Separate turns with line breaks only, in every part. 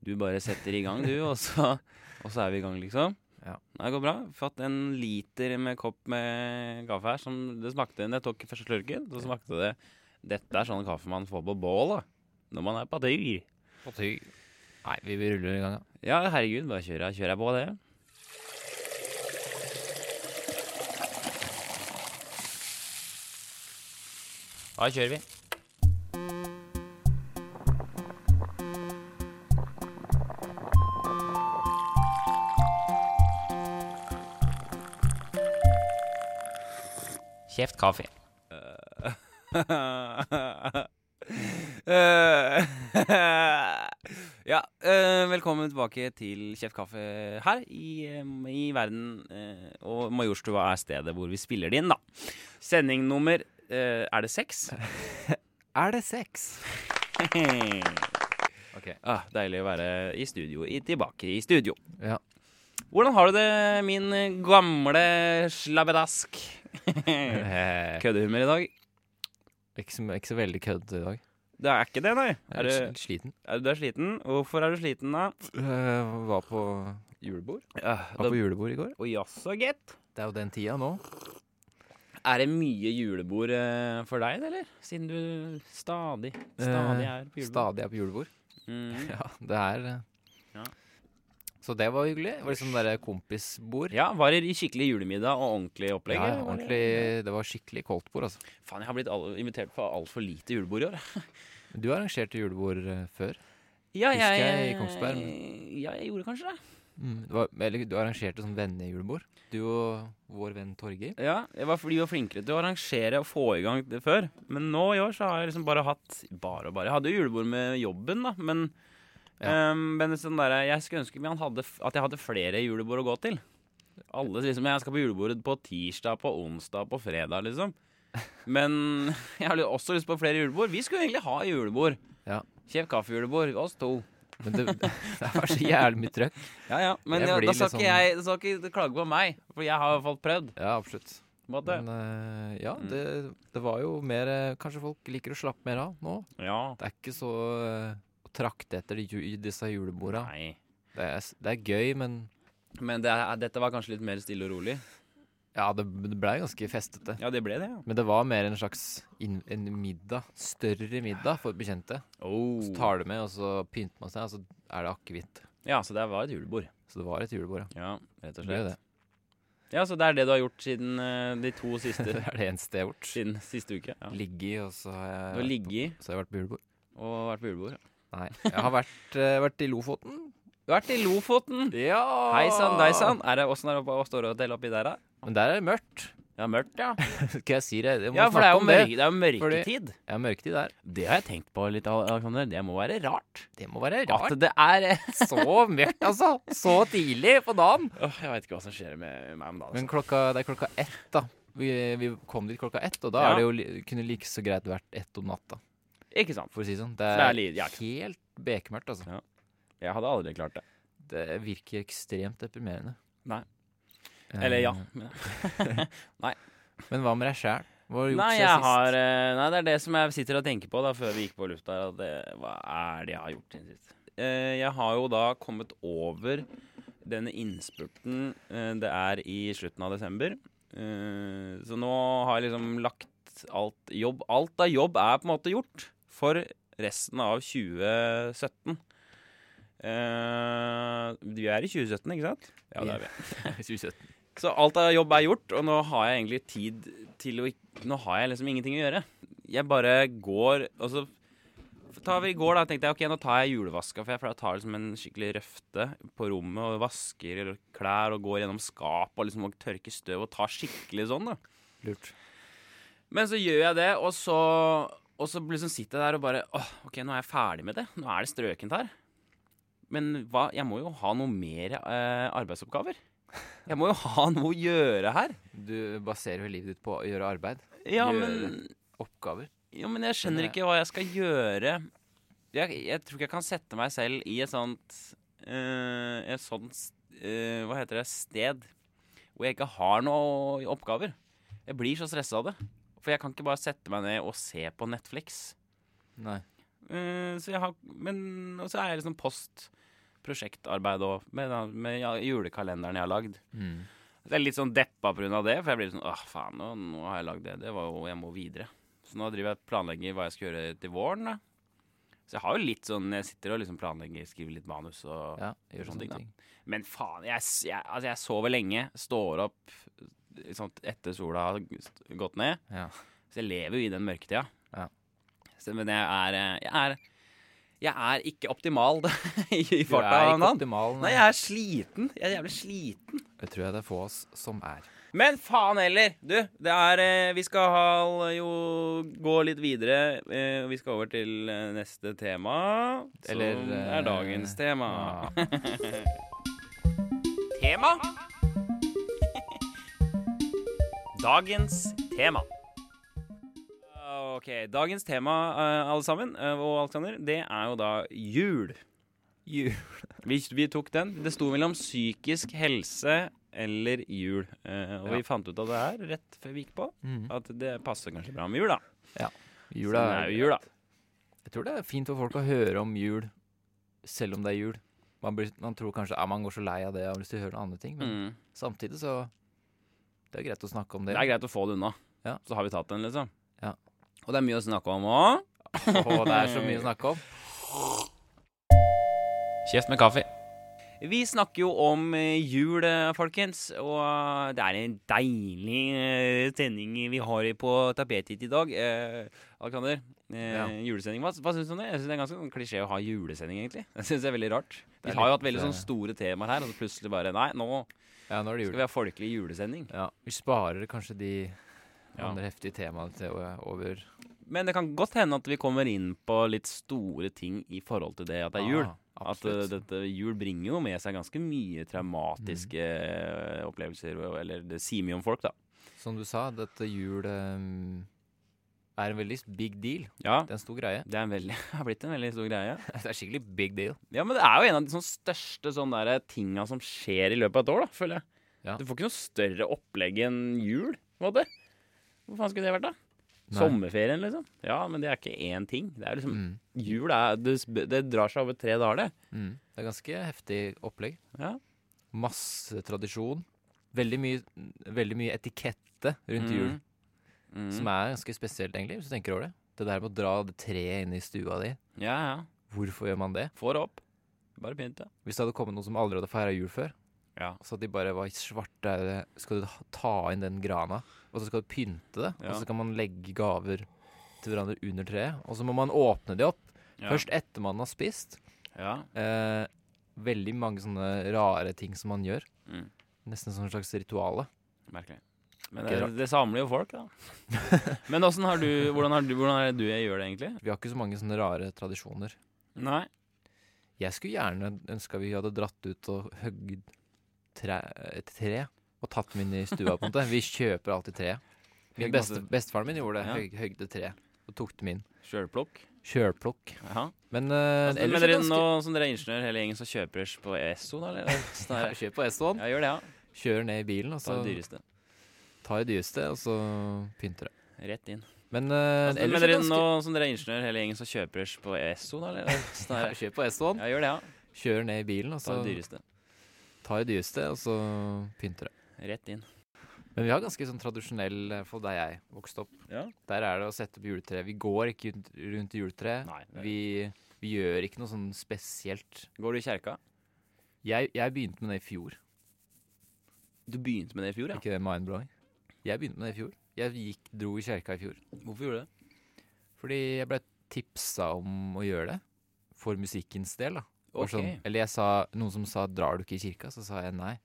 Du bare setter i gang, du, og så, og så er vi i gang, liksom.
Ja.
Nei, Det går bra. Fått en liter med kopp med kaffe her. Som det smakte når jeg tok første slurken, så smakte det Dette er sånn kaffe man får på bål, da. Når man er på tur.
Nei, vi ruller i gang, da.
Ja, herregud, bare kjører jeg, kjører jeg på det.
Da kjører vi. Kjeft kaffe.
Eh, ja, eh, velkommen tilbake til Kjeft kaffe her i, eh, i verden. eh, og Majorstua er stedet hvor vi spiller det inn, da. Sending nummer eh, Er det seks?
Er det sex? Ok.
ah, deilig å være i studio, i, tilbake i studio.
Ja.
Hvordan har du det, min gamle slabbedask?
Eh,
Køddehumør i dag?
ikke, så, ikke så veldig kødd i dag.
Det er ikke det, nei.
Jeg
Er
er
du,
litt sliten.
er du er sliten? Hvorfor er du sliten, da?
Eh, var på julebord.
Ah,
Var
da
på julebord i går.
Og jaså, gitt.
Det er jo den tida nå.
Er det mye julebord eh, for deg, eller? Siden du stadig, stadig er på julebord.
Eh, Stadig er på julebord.
Mm.
Ja, det er eh,
Ja.
Så det var hyggelig. Det var liksom der kompisbord.
Ja, var det skikkelig julemiddag og ordentlig opplegg?
Ja,
eller var det-
ordentlig, det var skikkelig koldt bord, altså.
Faen, jeg har blitt all, invitert på altfor lite julebord i år.
Du arrangerte julebord eh, før.
Ja,
Husker jeg i Kongsberg,
Ja, jeg gjorde kanskje det.
Det var, eller du arrangerte sånn vennejulebord. Du og vår venn Torgeir.
Ja, jeg var, fordi vi var flinkere til å arrangere og få i gang det før. Men nå i år så har jeg liksom bare hatt Bare og bare. Jeg hadde jo julebord med jobben, da, men ehm, men det sånn der, jeg skulle ønske man hadde, f- at jeg hadde flere julebord å gå til. Alle liksom, Jeg skal på julebordet på tirsdag, på onsdag, på fredag, liksom. Men jeg har li- også lyst på flere julebord. Vi skulle egentlig ha julebord.
Ja.
Kjeft kaffejulebord, oss to.
Men det, det var så jævlig mye trøkk.
Ja, ja. Men
Jeg
ja,
blir
da skal
litt sånn-
ikke jeg da skal ikke klage på meg, for jeg har i hvert fall prøvd.
Ja, absolutt.
på Mm. en måte.
Men eh, ja, det, det var jo mer eh, Kanskje folk liker å slappe mer av nå.
Ja.
Det er ikke så eh, å trakte etter de ju- disse juleborda.
Nei.
Det er, s- det er gøy, men
Men det, er- dette var kanskje litt mer stille og rolig?
ja, det, det blei ganske festete.
Ja, det ble det, ja.
Men det var mer en slags inn- en middag. Større middag for bekjente.
Oh.
Så tar du med, og så pynter man seg, og så er det akevitt.
Ja, så det var et julebord.
Så det var et julebord, ja.
Ja, rett og
Det ble
slett.
det.
Ja, Så det er det du har gjort siden eh, de to
Det
siste
er det eneste jeg har gjort.
Siden siste uke? Ja.
Ligge i, og så har
Du
jeg,
har
vært
ligget i
på- så har jeg vært på julebord.
og vært på julebord? ja.
Nei. Jeg har vært, eh, vært i Lofoten.
Du har vært i Lofoten!
Ja!
Hei sann, dei sann. Er det åssen er det oppe- hva står det til oppi der, da?
Men der er det mørkt.
Ja, mørkt, ja.
Skal jeg si det? Jeg må
Ja, for det er jo,
snakke om
mørk, det er jo
Fordi-
mørketid.
Jeg har mørketid der.
Det har jeg tenkt på litt, Alexander. Det må være rart.
Det må være
At det er
Så mørkt, altså. Så tidlig på dagen.
Åh, Jeg veit ikke hva som skjer med meg om dagen.
Men klokka, det er klokka ett, da. Vi, vi kom dit klokka ett, og da
Ja.
er det jo, li- kunne like så greit vært ett om natta,
altså. Ikke sant.
for å si det sånn.
Så
Det
det er
er
li- ja, ikke-
helt bekmørkt, altså.
Jeg hadde aldri klart det.
Det virker ekstremt deprimerende.
Nei.
Eh,
Eller ja. Men
Men hva med deg sjæl? Hva har du gjort
Nei, jeg
siden sist?
har, eh, nei, det er det som jeg sitter og tenker på da, før vi gikk på lufta. her, At det, hva er det jeg har gjort siden sist? Eh, jeg har jo da kommet over denne innspurten eh, det er i slutten av desember. Eh, så nå har jeg liksom lagt alt jobb Alt av jobb er på en måte gjort for resten av 2017. Eh, vi er i 2017, ikke sant? Ja, det er vi.
2017.
Så alt av jobb er gjort, og nå har jeg egentlig tid til å ikk- Nå har jeg liksom ingenting å gjøre. Jeg bare går, og så tar vi i går, da. tenkte jeg ok, nå tar jeg julevaska, for jeg pleier å ta liksom en skikkelig røfte på rommet og vasker eller klær og går gjennom skap og liksom og tørker støv og tar skikkelig sånn, da.
Lurt.
Men så gjør jeg det, og så, og så liksom sitter jeg der og bare Åh, OK, nå er jeg ferdig med det. Nå er det strøkent her. Men hva, jeg må jo ha noe mer eh, arbeidsoppgaver. Jeg må jo ha noe å gjøre her.
Du baserer jo livet ditt på å gjøre arbeid.
Ja,
Gjøre.
men,
Oppgaver.
ja, men jeg skjønner
Men det-
ikke hva jeg skal gjøre. Jeg, jeg tror ikke jeg kan sette meg selv i et sånt eh, Et sånt eh, Hva heter det? Sted hvor jeg ikke har noen oppgaver. Jeg blir så stressa av det. For jeg kan ikke bare sette meg ned og se på Netflix.
Nei.
Eh, så jeg har Men og så er jeg liksom post prosjektarbeid og med, med ja, julekalenderen jeg har lagd.
Mm.
Så jeg er litt sånn deppa pga. det, for jeg blir litt sånn Åh, faen, nå, nå har jeg lagd det. Det var jo Jeg må videre. Så nå driver jeg og planlegger hva jeg skal gjøre til våren, da. Så jeg har jo litt sånn Jeg sitter og liksom planlegger, skriver litt manus og
Ja, gjør
Sånne ting, da.
sånne ting.
Men faen, jeg, s- jeg, altså, jeg sover lenge, står opp liksom, etter sola har g- st- gått ned.
Ja.
Så jeg lever jo i den mørketida.
Ja.
Så, men jeg er, eh, jeg er Jeg er ikke optimal da, i i
Du er
farta.
ikke
Nan.
optimal,
Nei, jeg er sliten. Jeg er jævlig sliten.
Det tror jeg det er få av oss som er.
Men faen heller! Du, det er eh, Vi skal ha, jo gå litt videre. eh, Vi skal over til eh, neste tema.
Eller,
som
eh,
er dagens tema.
Ja.
Tema? Dagens tema. Ok, dagens tema, eh, alle sammen, eh, og Alexander, det er jo da jul.
Jul.
Vi, vi tok den. Det sto mellom psykisk helse eller jul. Eh, Og
Ja.
vi fant ut av det her rett før vi gikk på,
Mm.
at det passer kanskje bra med jul, da. Så
Jula
det er jo jul, da.
Jeg tror det er fint for folk å høre om jul, selv om det er jul. Man, blir, man tror kanskje ja, man går så lei av det og har lyst til å høre noen andre ting, men
Mm.
samtidig så Det er greit å snakke om det.
Det er greit å få det unna.
Ja.
Så har vi tatt den, liksom.
Ja.
Og det er mye å snakke om òg.
Åh, det er så mye å snakke om.
Kjeft med kaffe. Vi snakker jo om eh, jul, eh, folkens. Og eh, det er en deilig eh, sending vi har på tapetet hit i dag. Eh, Alexander, eh,
Ja.
julesending. Hva, hva syns du om det? Jeg synes Det er ganske sånn klisjé å ha julesending, egentlig. Det syns jeg er veldig rart. Vi
Det er
har jo hatt
litt,
veldig
eh,
sånne store temaer her, og så plutselig bare Nei, nå
Ja, nå er det
skal
jul.
vi ha folkelig julesending.
Ja, vi sparer kanskje de
Ja.
andre heftige temaene til å- over
Men det kan godt hende at vi kommer inn på litt store ting i forhold til det at det er jul.
Ah,
At eh,
absolutt.
dette, jul bringer jo med seg ganske mye traumatiske eh, opplevelser, og- eller det sier mye om folk, da.
Som du sa, dette jul eh, er en veldig big deal.
Ja,
Det er en stor greie.
det er en veldig, har blitt en veldig stor greie.
Det er skikkelig big deal.
Ja, men det er jo en av de sånn største sånne der eh, tinga som skjer i løpet av et år, da, føler jeg.
Ja.
Du får ikke noe større opplegg enn jul, på en måte. Hvor faen skulle det vært, da?
Nei.
Sommerferien, liksom. Ja, men det er ikke én ting. Det er liksom,
Mm.
Jul er, det, sp- det drar seg over tre dager, det.
Mm. Det er ganske heftig opplegg.
Ja.
Masse tradisjon. Veldig mye, veldig mye etikette rundt jul,
Mm. Mm.
som er ganske spesielt, egentlig, hvis du tenker over det. Det der med å dra det treet inn i stua di,
Ja, ja.
hvorfor gjør man det?
Får opp. Bare pynt, det.
Hvis det hadde kommet noen som aldri hadde feira jul før,
Ja.
så at de bare var svarte er det- Skal du ha- ta inn den grana, og så skal du pynte det,
Ja.
og så kan man legge gaver til hverandre under treet, og så må man åpne de opp.
Ja.
Først etter man har spist.
Ja.
Eh, veldig mange sånne rare ting som man gjør.
Mm.
Nesten som et slags rituale.
Merkelig. Men
Ikke
det,
rart.
det samler jo folk, da. Men åssen har du Hvordan har du, hvordan er det du jeg gjør det, egentlig?
Vi har ikke så mange sånne rare tradisjoner.
Nei.
Jeg skulle gjerne ønska vi hadde dratt ut og høgd tre, et tre og tatt dem inn i stua. på en måte. Vi kjøper alltid tre. Min
Høgg
beste,
masse-
bestefaren min gjorde det.
Ja.
Høg, høgde tre og tok dem inn.
Sjølplukk.
Kjølplukk.
Jaha.
Men, eh,
Altså,
ellers
men
er
dere,
det
nå
ganske-
som dere er ingeniør hele gjengen, så kjøper dere på Esso, da? Eller? Sånn
Ja,
her.
Kjøp på Eston,
Ja, gjør det, ja.
kjører ned i bilen, og
Ta det
så
dyreste.
tar det dyreste, og så pynter det.
Rett inn.
Men, eh,
Altså,
ellers
men
er det
dere, nå
ganske
som dere er ingeniør hele gjengen, så kjøper dere på Esso, da? Eller? Sånn
Ja,
her.
Kjøp på Eston,
Ja, gjør det, ja.
kjører ned i bilen, og
Ta det
så
dyreste.
tar det dyreste, og så pynter det.
Rett inn.
Men vi har ganske sånn tradisjonell, i hvert fall der jeg vokste opp.
Ja.
Der er det å sette opp juletre. Vi går ikke rundt- rundt juletreet.
Nei. det-
Vi, vi gjør ikke noe sånn spesielt.
Går du i kjerka?
Jeg, jeg begynte med det i fjor.
Du begynte med det i fjor, ja.
Ikke det mind-blowing? Jeg begynte med det i fjor. Jeg gikk, dro i kjerka i fjor.
Hvorfor gjorde du det?
Fordi jeg ble tipsa om å gjøre det. For musikkens del, da. Og
Ok.
Sånn, eller jeg sa, noen som sa 'drar du ikke i kirka', så sa jeg nei.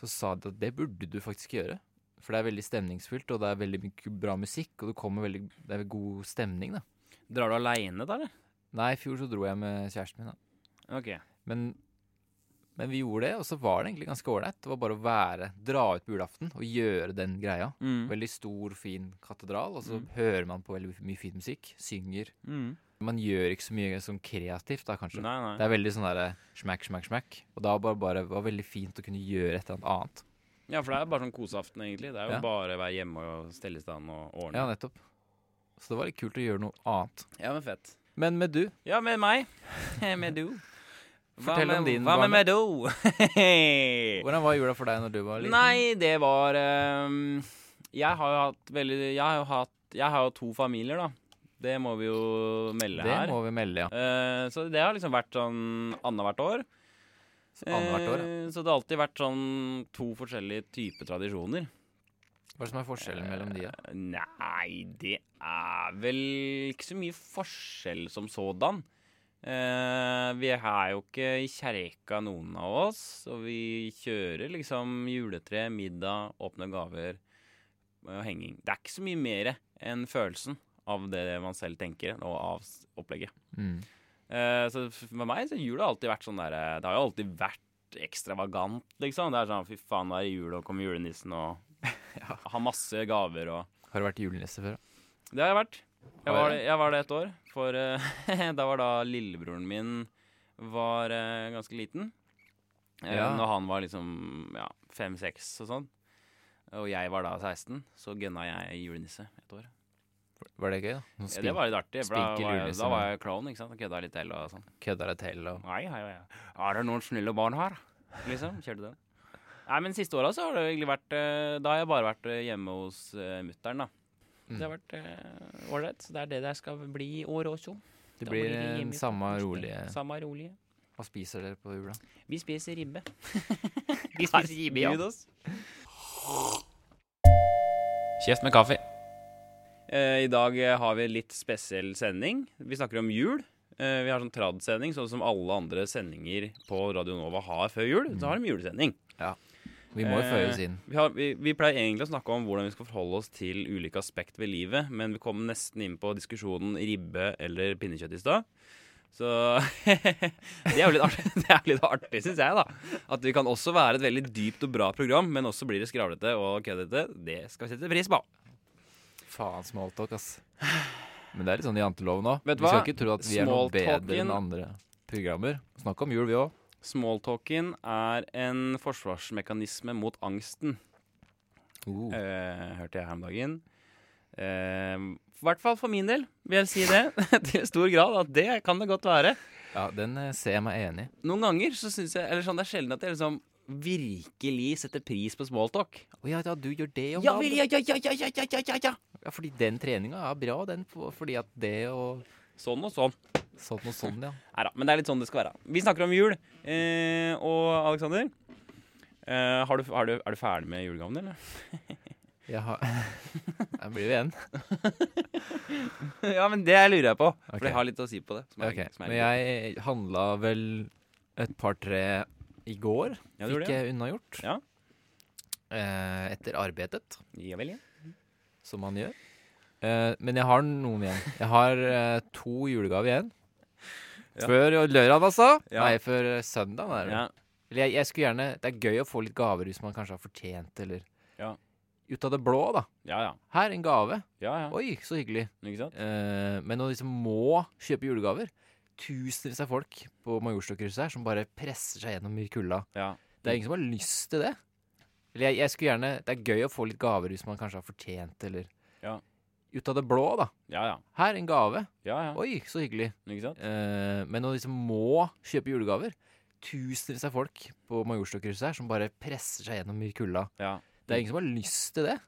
Så sa de at det burde du faktisk gjøre. For det er veldig stemningsfullt, og det er veldig mye bra musikk, og det kommer veldig Det er god stemning, da.
Drar du aleine, da, eller?
Nei, i fjor så dro jeg med kjæresten min, da.
Ok.
Men, men vi gjorde det, og så var det egentlig ganske ålreit. Det var bare å være, dra ut på julaften og gjøre den greia.
Mm.
Veldig stor, fin katedral, og så
Mm.
hører man på veldig mye fin musikk. Synger.
Mm.
Man gjør ikke så mye sånn kreativt, da, kanskje.
Nei, nei.
Det er veldig sånn derre smack, smack, smack. Og da var det bare var veldig fint å kunne gjøre et eller annet annet.
Ja, for det er bare sånn koseaften, egentlig. Det er jo
Ja.
bare å være hjemme og stelle i stand og
Ja,
ordne.
nettopp. Så det var litt kult å gjøre noe annet.
Ja, men fett.
Men med du
Ja, med meg. med du.
Fortell
hva med,
om din
Hva med
barne-
Meadow?
Hvordan var jula for deg når du var liten?
Nei, det var ehm, Jeg har jo hatt veldig Jeg har jo hatt Jeg har jo to familier, da. Det må vi jo melde
det
her.
må vi melde, ja.
Eh, så det har liksom vært sånn annethvert år.
Annethvert år.
Eh,
ja.
så det har alltid vært sånn to forskjellige typer tradisjoner.
Hva er det som er
Eh,
forskjellen mellom de? da?
Nei, det er vel ikke så mye forskjell som sådan. Eh, vi er jo ikke i kjerka, noen av oss. Og vi kjører liksom juletre, middag, åpne gaver og henging. Det er ikke så mye mer enn følelsen av det man selv tenker, og av s- opplegget.
Mm.
Eh, så f- for meg så har jula alltid vært sånn der eh, Det har jo alltid vært ekstravagant, liksom. Det er sånn fy faen, nå er det jul, og kommer julenissen og har masse gaver og
Har du vært julenisse før? da?
det har jeg vært. Jeg
Har
var,
du det?
jeg var det et år. For eh, da var da lillebroren min var eh, ganske liten. Eh,
Ja.
Når han var liksom ja, fem-seks og sånn. Og jeg var da 16, så gønna jeg julenisse et år.
Var det gøy, da? Sånn Noen
Ja, det var litt artig, for da
spilte
var, jeg,
julenisse,
da var jeg klovn. ikke sant? Og Kødda litt til og sånn.
kødda deg til og
Nei, hei, hei. Er det noen snille barn her? Liksom, kjørte den. Nei, men siste åra så har det egentlig vært eh, Da har jeg bare vært eh, hjemme hos uh, mutter'n, da.
Mm.
Det har vært eh, ålreit. så det er det det skal bli i år også.
Det
Da må
blir
ligge
eh,
hjemme i
samme
pakkesten.
rolige
Samme rolige.
Hva spiser dere på jula?
Vi spiser ribbe. Vi spiser ribbe, ja. Kjeft med kaffe. Eh, I dag eh, har vi litt spesiell sending. Vi snakker om jul. Eh, vi har sånn trad-sending, sånn som alle andre sendinger på Radio Nova har før jul. Så har de julesending.
Vi må jo
Eh,
føyes inn.
Vi, har, vi, vi pleier egentlig å snakke om hvordan vi skal forholde oss til ulike aspekt ved livet, men vi kom nesten inn på diskusjonen ribbe eller pinnekjøtt i stad. Så det er jo litt artig, det er litt artig syns jeg, da. At vi kan også være et veldig dypt og bra program, men også blir det skravlete og køddete. Det skal vi sette pris på.
Faen smalltalk, ass. Men det er litt sånn jantelov nå.
Vet du
vi skal
hva?
ikke tro at vi er noe bedre
Smalltalken-
enn andre programmer. Snakk om jul, vi òg.
Smalltalken er en forsvarsmekanisme mot angsten,
Oh.
eh, hørte jeg her om dagen. Eh, I hvert fall for min del vil jeg si det, til stor grad, at det kan det godt være.
Ja, den eh, ser jeg meg enig i.
Noen ganger så syns jeg Eller sånn, det er sjelden at jeg liksom virkelig setter pris på Altså, smalltalk.
Å ja, ja, du gjør det om
Ja,
dagen.
ja, ja, ja, ja, ja, ja, ja, ja.
Ja, fordi den treninga er bra, den. for- Fordi at det og
Sånn og sånn.
sånn og sånn, ja.
Nei da, men det er litt sånn det skal være. Vi snakker om jul. Eh, og Aleksander, eh, har du, har du, er du ferdig med julegavene, eller?
Jeg har Der blir vi igjen.
ja, men det lurer jeg på.
Ok.
For det har litt å si på det. som er-
Ok,
som er
Men jeg handla vel et par-tre i går.
Ja, du gjorde
fikk
det,
jeg unnagjort.
Ja.
Eh, etter arbeidet,
Ja vel, ja.
som man gjør. Eh, men jeg har noen igjen. Jeg har eh, to julegaver igjen.
Ja.
Før lørdag, altså.
Ja.
Nei, før eh, søndag. er det.
ja.
Eller jeg, jeg skulle gjerne Det er gøy å få litt gaver hvis man kanskje har fortjent, eller
Ja.
Ut av det blå, da.
Ja, ja.
Her, en gave.
Ja, ja.
Oi, så hyggelig.
Ikke sant?
Eh, men når de som må kjøpe julegaver Tusenvis av folk på Majorstokkrysset her som bare presser seg gjennom i kulda.
Ja.
Det er ingen som har lyst til det. Eller jeg, jeg skulle gjerne Det er gøy å få litt gaver hvis man kanskje har fortjent, eller
Ja.
Ut av det blå, da.
Ja, ja.
Her, en gave.
Ja, ja.
Oi, så hyggelig.
Ikke sant?
Eh, men når de som må kjøpe julegaver Tusenvis av folk på Majorstokkrysset her som bare presser seg gjennom i kulda.
Ja.
Det er ingen som har lyst til det.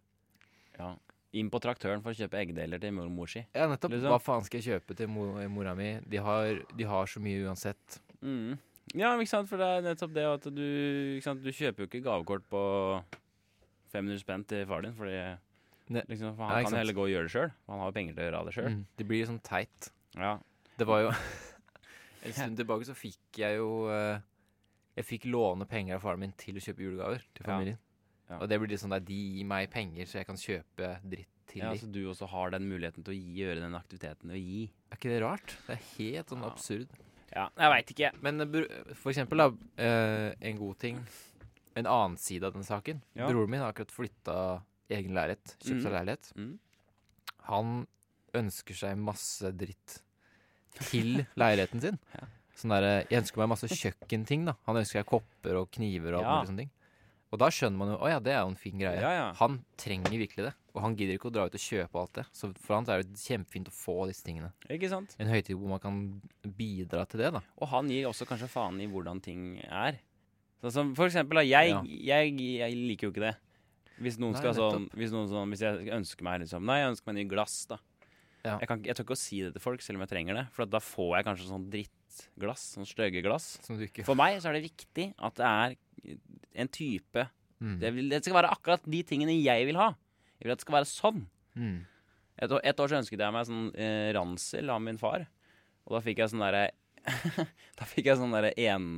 ja. Inn på traktøren for å kjøpe eggdeler til mormor si.
Ja, nettopp.
Liksom.
Hva faen skal jeg kjøpe til mo mora mi? De har, de har så mye uansett.
Mm. Ja, men ikke sant, for det er nettopp det at du ikke sant? Du kjøper jo ikke gavekort på 500 spenn til far din, fordi
Ne-
liksom, for
Nei,
han kan
ikke sant.
heller gå og gjøre det sjøl. Han har jo penger til å gjøre det sjøl.
Mm. Det blir sånn teit.
Ja.
Det var jo En stund tilbake så fikk jeg jo eh, Jeg fikk låne penger av faren min til å kjøpe julegaver til
Ja.
familien.
Ja.
Og det blir litt sånn der, de gir meg penger så jeg kan kjøpe dritt til
ja,
de.
Så du også har den muligheten til å gi, gjøre den aktiviteten å gi.
Er ikke det rart? Det er helt sånn
Ja.
absurd.
Ja, jeg veit ikke.
Men eh, bro- for eksempel, da, eh, en god ting En annen side av den saken.
Ja.
Broren min har akkurat flytta egen leilighet. Kjøpt seg
Mhm.
leilighet.
Mm.
Han ønsker seg masse dritt til leiligheten sin. eh,
Ja.
Sånn der, jeg ønsker meg masse kjøkkenting. da Han ønsker seg kopper og kniver og alt
Ja.
mulig sånne ting. Og da skjønner man jo Å ja, det er jo en fin greie.
Ja, ja.
Han trenger virkelig det. Og han gidder ikke å dra ut og kjøpe alt det. Så for han så er det kjempefint å få disse tingene.
Ikke sant?
En høytid hvor man kan bidra til det, da.
Og han gir også kanskje faen i hvordan ting er. Sånn som for eksempel, da, jeg, jeg, jeg liker jo ikke det. Hvis noen
Nei,
skal sånn,
nettopp.
hvis, noen sånn, hvis jeg ønsker meg liksom, Nei, jeg ønsker meg en ny glass, da.
Ja.
Jeg, kan, ikke- jeg tør ikke å si det til folk, selv om jeg trenger det. For at da får jeg kanskje sånn drittglass. Sånn stygge glass.
Som du ikke
For meg så er det viktig at det er en type
mm.
det, vil, det skal være akkurat de tingene jeg vil ha. Jeg vil at det skal være sånn.
Mm.
Et, år- et år så ønsket jeg meg sånn eh, ransel av min far. Og da fikk jeg sånn derre Da fikk jeg sånn derre en,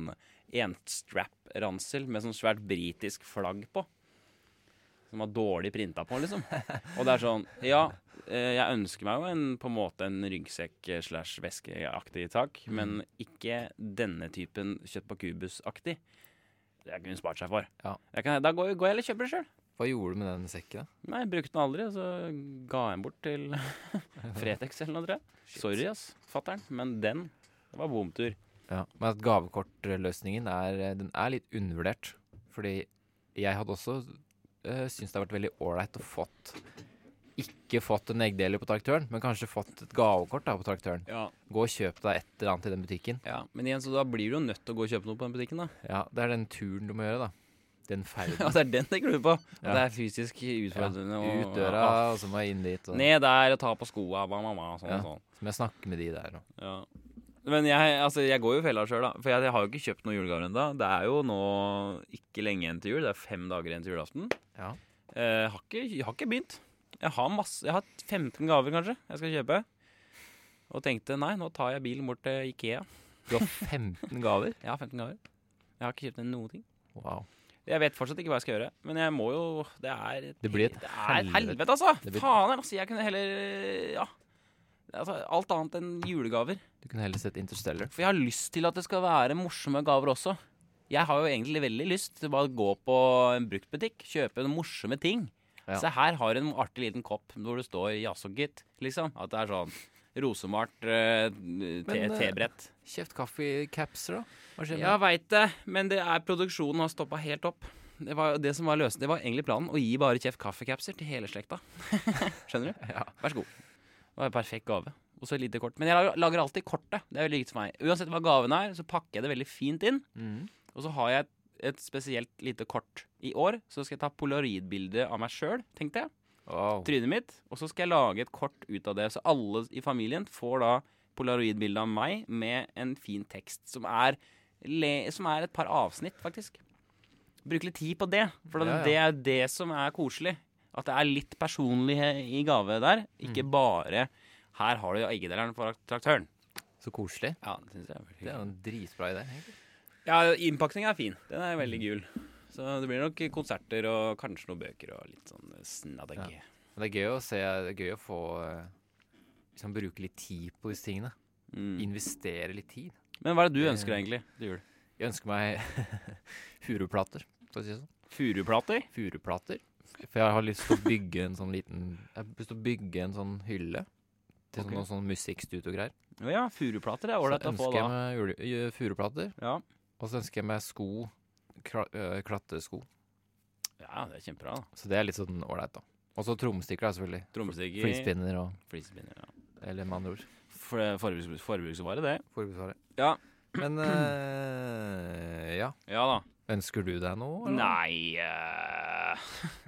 enstrap-ransel med sånn svært britisk flagg på. Som var dårlig printa på, liksom. Og det er sånn Ja, eh, jeg ønsker meg jo en, på en måte en ryggsekk eh, slash veskeaktig tak, men ikke denne typen kjøtt på kubus-aktig. Det kunne hun spart seg for.
Ja.
Jeg kan, da går, går jeg eller kjøper det sjøl.
Hva gjorde du med den sekken, da?
Nei, jeg brukte den aldri, og så ga jeg den bort til Fretex eller noe, tror jeg. Sorry, ass, fatter'n, men den det var bomtur.
Ja. Men at gavekortløsningen er, eh, den er litt undervurdert. Fordi jeg hadde også øh, syntes det har vært veldig ålreit å fått ikke fått en eggdeler på traktøren, men kanskje fått et gavekort da på traktøren.
Ja.
Gå og kjøp deg et eller annet i den butikken.
Men igjen, så da blir du jo nødt til å gå og kjøpe noe på den butikken, da.
Ja, Det er den turen du må gjøre, da. Den ferden.
Ja, det er den jeg gruer på. At
Ja.
det er fysisk utfordrende. og-
Ut døra, og så må jeg inn dit.
Ja.
Og,
Ned der og ta på skoa, hva mamma, sånn
Ja.
og sånn.
så må jeg snakke med de der. Og.
Ja. Men jeg, altså, jeg går jo i fella sjøl, da. For jeg, jeg har jo ikke kjøpt noen julegaver ennå. Det er jo nå ikke lenge igjen til jul. Det er fem dager igjen til julaften.
Ja.
Eh, har, ikke, jeg har ikke begynt. Jeg har, masse, jeg har 15 gaver, kanskje, jeg skal kjøpe. Og tenkte nei, nå tar jeg bilen bort til Ikea.
Du har 15 gaver?
Jeg har 15 gaver. Jeg har ikke kjøpt noen ting.
Wow.
Jeg vet fortsatt ikke hva jeg skal gjøre, men jeg må jo Det er
Det blir et
det er
helvete.
helvete, altså!
Det blir-
Faen, altså, jeg kunne heller Ja. Altså, alt annet enn julegaver.
Du kunne heller sett Interstellar.
For jeg har lyst til at det skal være morsomme gaver også. Jeg har jo egentlig veldig lyst til bare å gå på en bruktbutikk, kjøpe noen morsomme ting.
Ja.
Se her har du en artig liten kopp hvor det står 'jaså, gitt'. Liksom. At det er sånn rosemalt eh, te-
Men, eh,
tebrett.
Kjøpt kaffecapser, da? Hva skjer med
Jeg veit det, men det er, produksjonen har stoppa helt opp. Det var jo det som var løsningen. Det var egentlig planen. Å gi bare Kjef kaffekapser til hele slekta. Skjønner du?
Ja.
Vær så god. Det var en perfekt gave. Og så et lite kort. Men jeg lager- lager alltid kortet. Det er veldig viktig for meg. Uansett hva gaven er, så pakker jeg det veldig fint inn.
Mm.
Og så har jeg et, et spesielt lite kort. I år så skal jeg ta polaroidbilde av meg sjøl, tenkte jeg
Wow.
trynet mitt, og så skal jeg lage et kort ut av det. Så alle i familien får da polaroidbilde av meg med en fin tekst, som er, le, som er et par avsnitt, faktisk. Bruke litt tid på det, for
Ja, ja.
det er det som er koselig. At det er litt personlig i gave der, ikke bare 'her har du eggedeleren for traktøren'.
Så koselig.
Ja, det synes jeg er veldig
Det er jo en dritbra idé. egentlig.
ja, innpakninga er fin. Den er veldig gul. Så det blir nok konserter og kanskje noen bøker og litt sånn snaddig.
Ja. Men det er gøy å se Det er gøy å få eh, liksom, bruke litt tid på disse tingene.
Mm.
Investere litt tid.
Men hva er det du ønsker deg egentlig til jul?
Jeg ønsker meg furuplater, for å si det sånn.
Furuplater?
Furuplater. For jeg har lyst til å bygge en sånn liten Jeg har lyst til å bygge en sånn hylle til
Ok.
sånn, noen sånn musikkstudio-greier.
Ja, furuplater er
Så
ålreit å få
ønsker jeg
da.
meg jule- ju- furuplater,
Ja.
og så ønsker jeg meg sko. Kra, øh, klatresko.
ja, det er kjempebra. da.
Så det er litt sånn ålreit, da. Og så trommestikker, da, selvfølgelig.
Trommestikker.
Flispinner og
Flispinner, ja.
Eller med andre ord.
For, forbruks, forbruksvare, det.
Forbruksvare.
Ja.
Men øh, ja.
Ja da.
Ønsker du deg noe? eller?
Nei eh,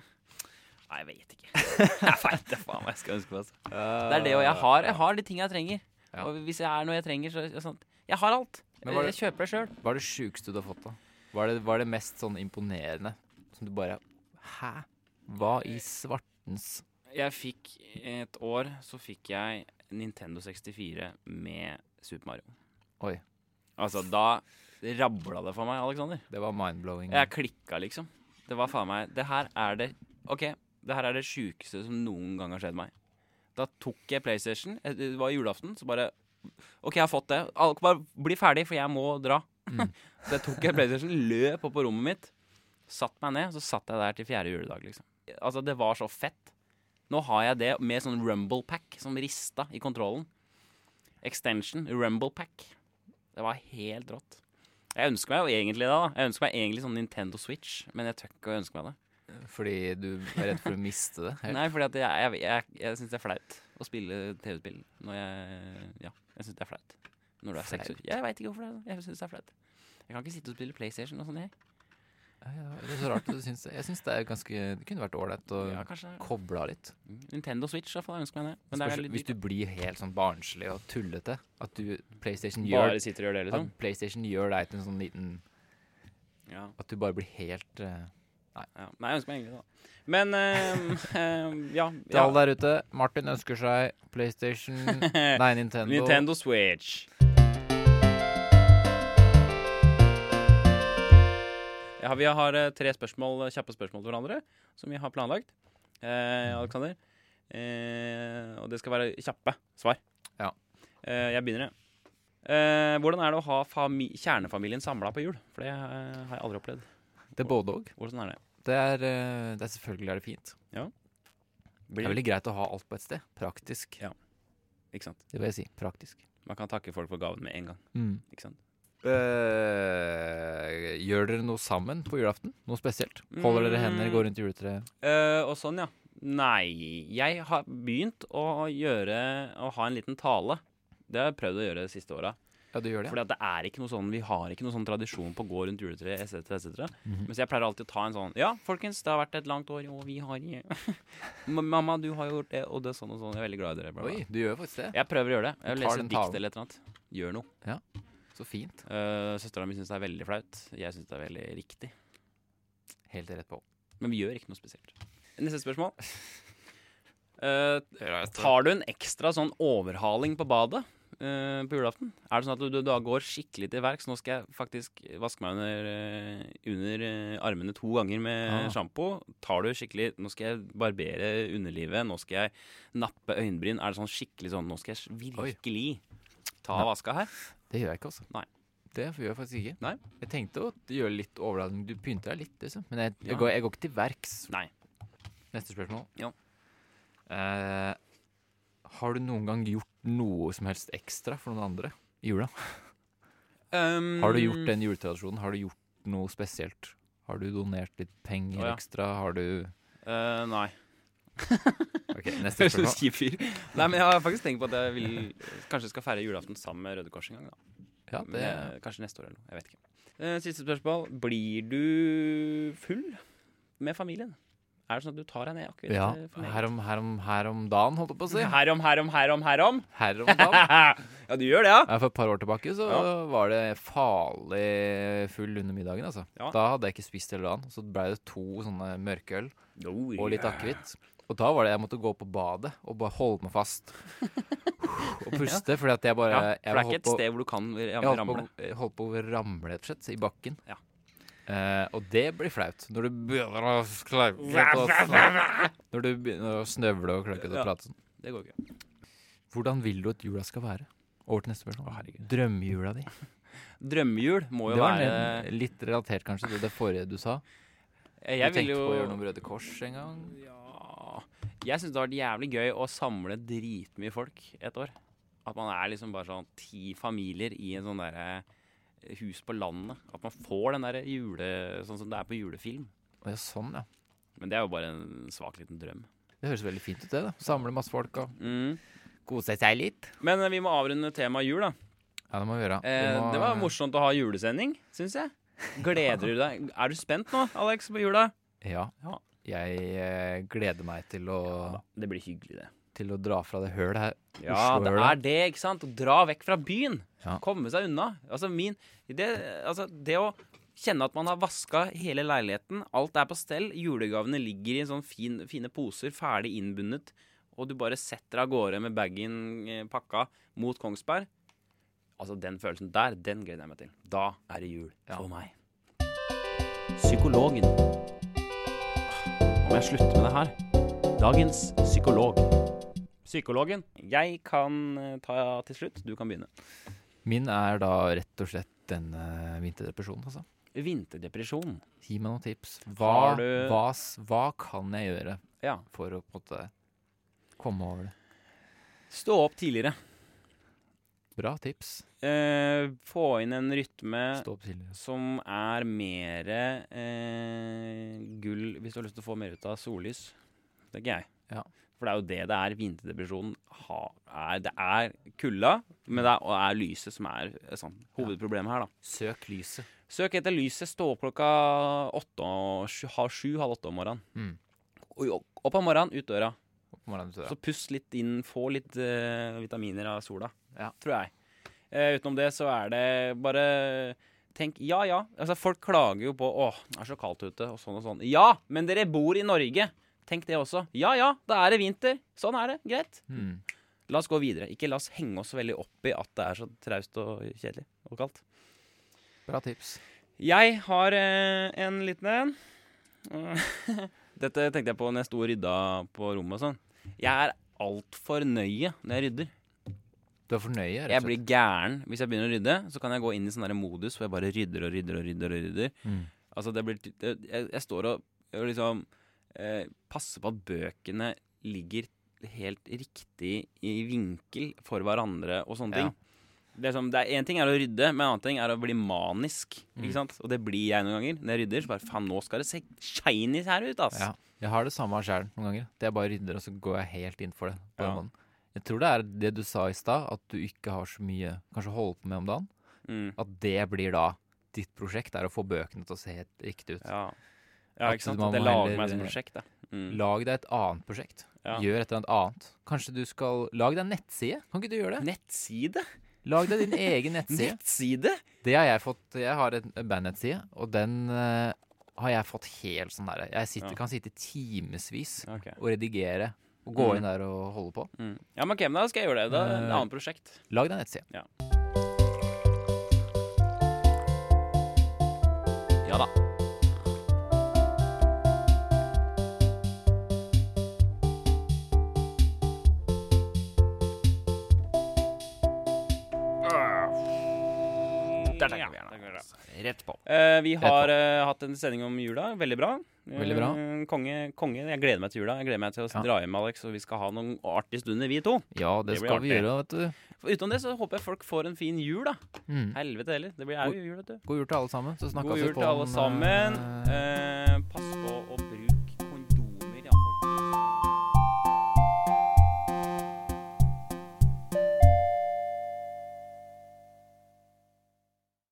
Nei, jeg vet ikke. Jeg veit da faen hva jeg skal ønske meg. altså. Det er det, og jeg har, jeg har de tingene jeg trenger.
Ja.
Og hvis jeg er noe jeg trenger, så er det sånn Jeg har alt.
Men var det-
Jeg kjøper det sjøl.
Eh, Hva er det sjukeste du har fått, da? Hva er det, hva er det mest sånn imponerende som du bare Hæ? Hva i svartens
Jeg fikk et år, så fikk jeg Nintendo 64 med Super Mario.
Oi.
Altså, da rabla det for meg, Aleksander.
Det var mind-blowing.
Jeg klikka, liksom. Det var faen meg Det her er det Ok, det her er det sjukeste som noen gang har skjedd meg. Da tok jeg PlayStation. eh, Det var julaften, så bare OK, jeg har fått det. Al- Bare bli ferdig, for jeg må dra. så jeg tok jeg PlayStation, løp opp på rommet mitt, satt meg ned, så satt jeg der til fjerde juledag, liksom. Altså, det var så fett. Nå har jeg det med sånn rumble pack som rista i kontrollen. Extension, rumble pack. Det var helt rått. Jeg ønsker meg jo egentlig det. da Jeg ønsker meg egentlig sånn Nintendo Switch, men jeg tør ikke å ønske meg det.
Fordi du er redd for å miste det? helt?
Nei, fordi at jeg, jeg, jeg, jeg syns det er flaut å spille TV-spill når jeg Ja, jeg syns det er flaut. Når du er seks år.
Flaut?
Jeg veit ikke hvorfor det. er sånn. Jeg syns det er flaut. Jeg kan ikke sitte og spille PlayStation og sånn, jeg.
Ja, ja, det er så rart at du syns det. Jeg syns det er ganske Det kunne vært ålreit å
Ja, kanskje
koble av litt.
Mm, Nintendo Switch, i hvert fall. Jeg ønsker meg det. Men det er
Spørs,
veldig
hvis
dyrt.
du blir helt sånn barnslig og tullete, at du PlayStation gjør,
Bare sitter og gjør det, liksom?
at PlayStation gjør deg til en sånn liten
Ja.
At du bare blir helt eh,
ja. Nei, jeg ønsker meg egentlig det. da. Men ehm, ehm, ja.
Til
ja.
alle der ute, Martin ønsker seg PlayStation Nei, Nintendo.
Nintendo Switch. Ja, vi har eh, tre spørsmål, eh, kjappe spørsmål til hverandre som vi har planlagt. Eh, Alexander. Eh, og det skal være kjappe svar.
Ja.
Eh, jeg begynner, jeg. Eh, hvordan er det å ha fami kjernefamilien samla på jul? For det eh, har jeg aldri opplevd.
Det er både òg.
Hvordan er det?
Det er, eh, det er selvfølgelig er det fint. Det
Blir,
er veldig greit å ha alt på et sted. Praktisk.
ikke sant?
Det vil jeg si. Praktisk. Mm.
Man kan takke folk for gaven med en gang. Ikke sant?
Eh, gjør dere noe sammen på julaften? Noe spesielt? Holder dere hender, går rundt juletreet?
Eh, og sånn, ja. Nei, jeg har begynt å gjøre Å ha en liten tale. Det har jeg prøvd å gjøre de siste åra.
Ja, du gjør det?
Fordi at det er ikke noe sånn Vi har ikke noen sånn tradisjon på å gå rundt juletreet etc. etc.
Mhm.
Men så jeg pleier alltid å ta en sånn Ja, folkens, det har vært et langt år, og vi har M- Mamma, du har gjort det, og det er sånn og sånn. Jeg er veldig glad i dere. Bla, bla.
Oi, du gjør faktisk det.
Jeg prøver å gjøre det. Jeg
Du tar
leser
den
et dikt
talen.
eller et eller annet. Gjør noe.
Så fint.
Uh, Søstera mi syns det er veldig flaut. Jeg syns det er veldig riktig.
Helt rett på.
Men vi gjør ikke noe spesielt. Neste spørsmål. Eh, Tar du en ekstra sånn overhaling på badet eh, på julaften? Er det sånn at du, du da går skikkelig til verks? Nå skal jeg faktisk vaske meg under, eh, under eh, armene to ganger med
Ah.
sjampo. Tar du skikkelig Nå skal jeg barbere underlivet, nå skal jeg nappe øyenbryn. Er det sånn skikkelig sånn Nå skal jeg virkelig ta
Nei.
vaska her?
Det gjør jeg ikke, altså.
Nei.
Det gjør jeg faktisk ikke.
Nei.
Jeg tenkte å gjøre litt overladning. Du pynter deg litt, liksom. Men jeg, jeg,
Ja.
går, jeg går ikke til verks.
Nei.
Neste spørsmål.
Ja.
Eh, har du noen gang gjort noe som helst ekstra for noen andre i jula? Har du
Mm.
gjort den juletradisjonen? Har du gjort noe spesielt? Har du donert litt penger
Å, ja.
ekstra? Har du
Eh, nei.
Ok, neste spørsmål.
kjip fyr. Nei, men jeg har faktisk tenkt på at jeg vil Kanskje skal feire julaften sammen med Røde Kors en gang. da
Ja,
Men,
det,
eh, Kanskje neste år eller noe. Jeg vet ikke. Eh, siste spørsmål. Blir du full med familien? Er det sånn at du tar deg ned akevitt?
ja
eh, for meget?
her, om, her, om, her om dagen, holdt jeg på å si.
Herom, herom, herom, herom.
Her om dagen.
ja, du gjør det, ja?
Ja, for et par år tilbake så
Ja.
var det farlig full under middagen. altså.
Ja.
Da hadde jeg ikke spist hele dagen. Så ble det to sånne mørkeøl og litt
ja.
akevitt. Og da var det jeg måtte gå på badet og bare holde meg fast. og puste, fordi at jeg bare
ja,
jeg
for det er ikke et
holdt på-
sted hvor du kan
jeg
ram-
holdt
ramle.
På, jeg holdt på å ramle, rett og slett, i bakken.
Ja.
Eh, og det blir flaut. Når du begynner å klauke og snak- Når du begynner å snøvle og klauke og
Ja.
prate sånn.
Det går ikke.
Hvordan vil du at jula skal være? Over til neste
Å,
spørsmål.
herregud.
Drømmejula di.
Drømmejul må jo
Det var
være
en- litt relatert kanskje til det forrige du sa.
Jeg,
du
vil
tenkte
jo
på å gjøre noe med Røde Kors en gang.
Ja Jeg syns det har vært jævlig gøy å samle dritmye folk et år. At man er liksom bare sånn ti familier i en sånn derre hus på landet. At man får den derre jule... Sånn som det er på julefilm.
Å, ja, sånn, ja.
Men det er jo bare en svak liten drøm.
Det høres veldig fint ut, det. da. Samle masse folk og
Mm.
kose seg litt.
Men eh, vi må avrunde temaet jul, da.
Ja, det må vi gjøre. Vi
Eh,
må-
det var morsomt å ha julesending, syns jeg. Gleder du deg? Er du spent nå, Alex, på jula?
Ja.
Ja.
Jeg eh, gleder meg til å,
Det blir hyggelig, det.
til å dra fra det hølet her.
Ja, det
Oslo-øla.
er det, ikke sant? Å dra vekk fra byen.
Ja.
Komme seg unna. Altså, min det, altså, det å kjenne at man har vaska hele leiligheten, alt er på stell, julegavene ligger i en sånn fin, fine poser, ferdig innbundet, og du bare setter av gårde med bagen eh, pakka mot Kongsberg. Altså, den følelsen der, den gleder jeg meg til. Da er det jul for meg. Psykologen. Nå må jeg slutte med det her. Dagens psykolog. Psykologen. Jeg kan eh, ta til slutt. Du kan begynne.
Min er da rett og slett denne vinterdepresjonen, altså.
Vinterdepresjon.
Gi meg noen tips.
Har
Hva,
du-
hva, s- hva kan jeg gjøre
Ja.
for å på en måte komme over det?
Stå opp tidligere.
Bra tips.
Eh, få inn en rytme
Stå opp tidligere.
som er mer eh, gull hvis du har lyst til å få mer ut av sollys, tenker jeg.
Ja.
For det er jo det det er. Vinterdepresjonen ha- er Det er kulda, men det er, og er lyset som er eh, sånn, hovedproblemet her, da.
Søk lyset.
Søk etter lyset. Stå opp klokka åtte og sju, halv sju, halv åtte om morgenen.
Mm.
Oi, Opp av morgenen, ut døra.
Opp morgenen, vet du det.
Så pust litt inn, få litt eh, vitaminer av sola,
Ja.
tror jeg. Eh, utenom det så er det bare Tenk, ja ja. Altså, folk klager jo på Å, det er så kaldt ute, og sånn og sånn. Ja, men dere bor i Norge. Tenk det også. Ja ja, da er det vinter. Sånn er det. Greit.
Mm.
La oss gå videre. Ikke la oss henge oss så veldig opp i at det er så traust og kjedelig og kaldt.
Bra tips.
Jeg har eh, en liten en. Eh, Dette tenkte jeg på når jeg sto og rydda på rommet og sånn. Jeg er altfor nøye når jeg rydder.
Du er fornøyd,
Jeg
rett og slett.
blir gæren hvis jeg begynner å rydde. Så kan jeg gå inn i sånn der modus hvor jeg bare rydder og rydder og rydder. og rydder
Mm.
Altså det blir det, jeg, jeg står og, og liksom eh, passer på at bøkene ligger helt riktig i vinkel for hverandre og sånne
Ja.
ting. Det er sånn, det er, en ting er å rydde, men en annen ting er å bli manisk.
Mm.
Ikke sant? Og det blir jeg noen ganger. Når jeg rydder, så bare faen, nå skal det se shiny her ut, ass.
Ja. Jeg har det samme sjøl noen ganger. At jeg bare rydder, og så går jeg helt inn for det. På den
Ja.
måten. Jeg tror det er det du sa i stad, at du ikke har så mye kanskje å holde på med om dagen.
Mm.
At det blir da ditt prosjekt, er å få bøkene til å se helt riktig ut.
ja. ja
At
ikke sant?
man
At jeg
må
lager
heller- eh,
meg som prosjekt, da. Mm.
Lag deg et annet prosjekt.
Ja.
Gjør et eller annet annet. Kanskje du skal Lag deg en nettside. Kan ikke du gjøre det?
Nettside?
Lag deg din egen nettside.
Nettside?
Det har jeg fått. Jeg har en bandnettside, og den eh, har jeg fått helt sånn derre Jeg sitter,
Ja.
kan sitte timevis
Ok.
og redigere og gå
Mm.
inn der og holde på.
Mm. Ja, men ok, men da skal jeg gjøre det. Da er det et
Eh,
annet prosjekt.
Lag deg en nettside.
Ja da. Ah. Der tenker vi gjerne.
Rett på.
Eh, vi har eh, hatt en sending om jula. Veldig bra. Eh,
Veldig bra.
konge, konge. Jeg gleder meg til jula. Jeg gleder meg til å
Ja.
dra hjem, Alex, og vi skal ha noen artige stunder, vi to.
Ja, det,
Det blir
skal vi
artig.
gjøre, vet du.
For Utenom det så håper jeg folk får en fin jul, da.
Mm.
Helvete heller. Det blir er jo jul, vet du.
God jul til alle sammen. Så snakkes
God
vi
jul
altså på
til alle
en,
sammen.
eh,
Eh, pass på å bruke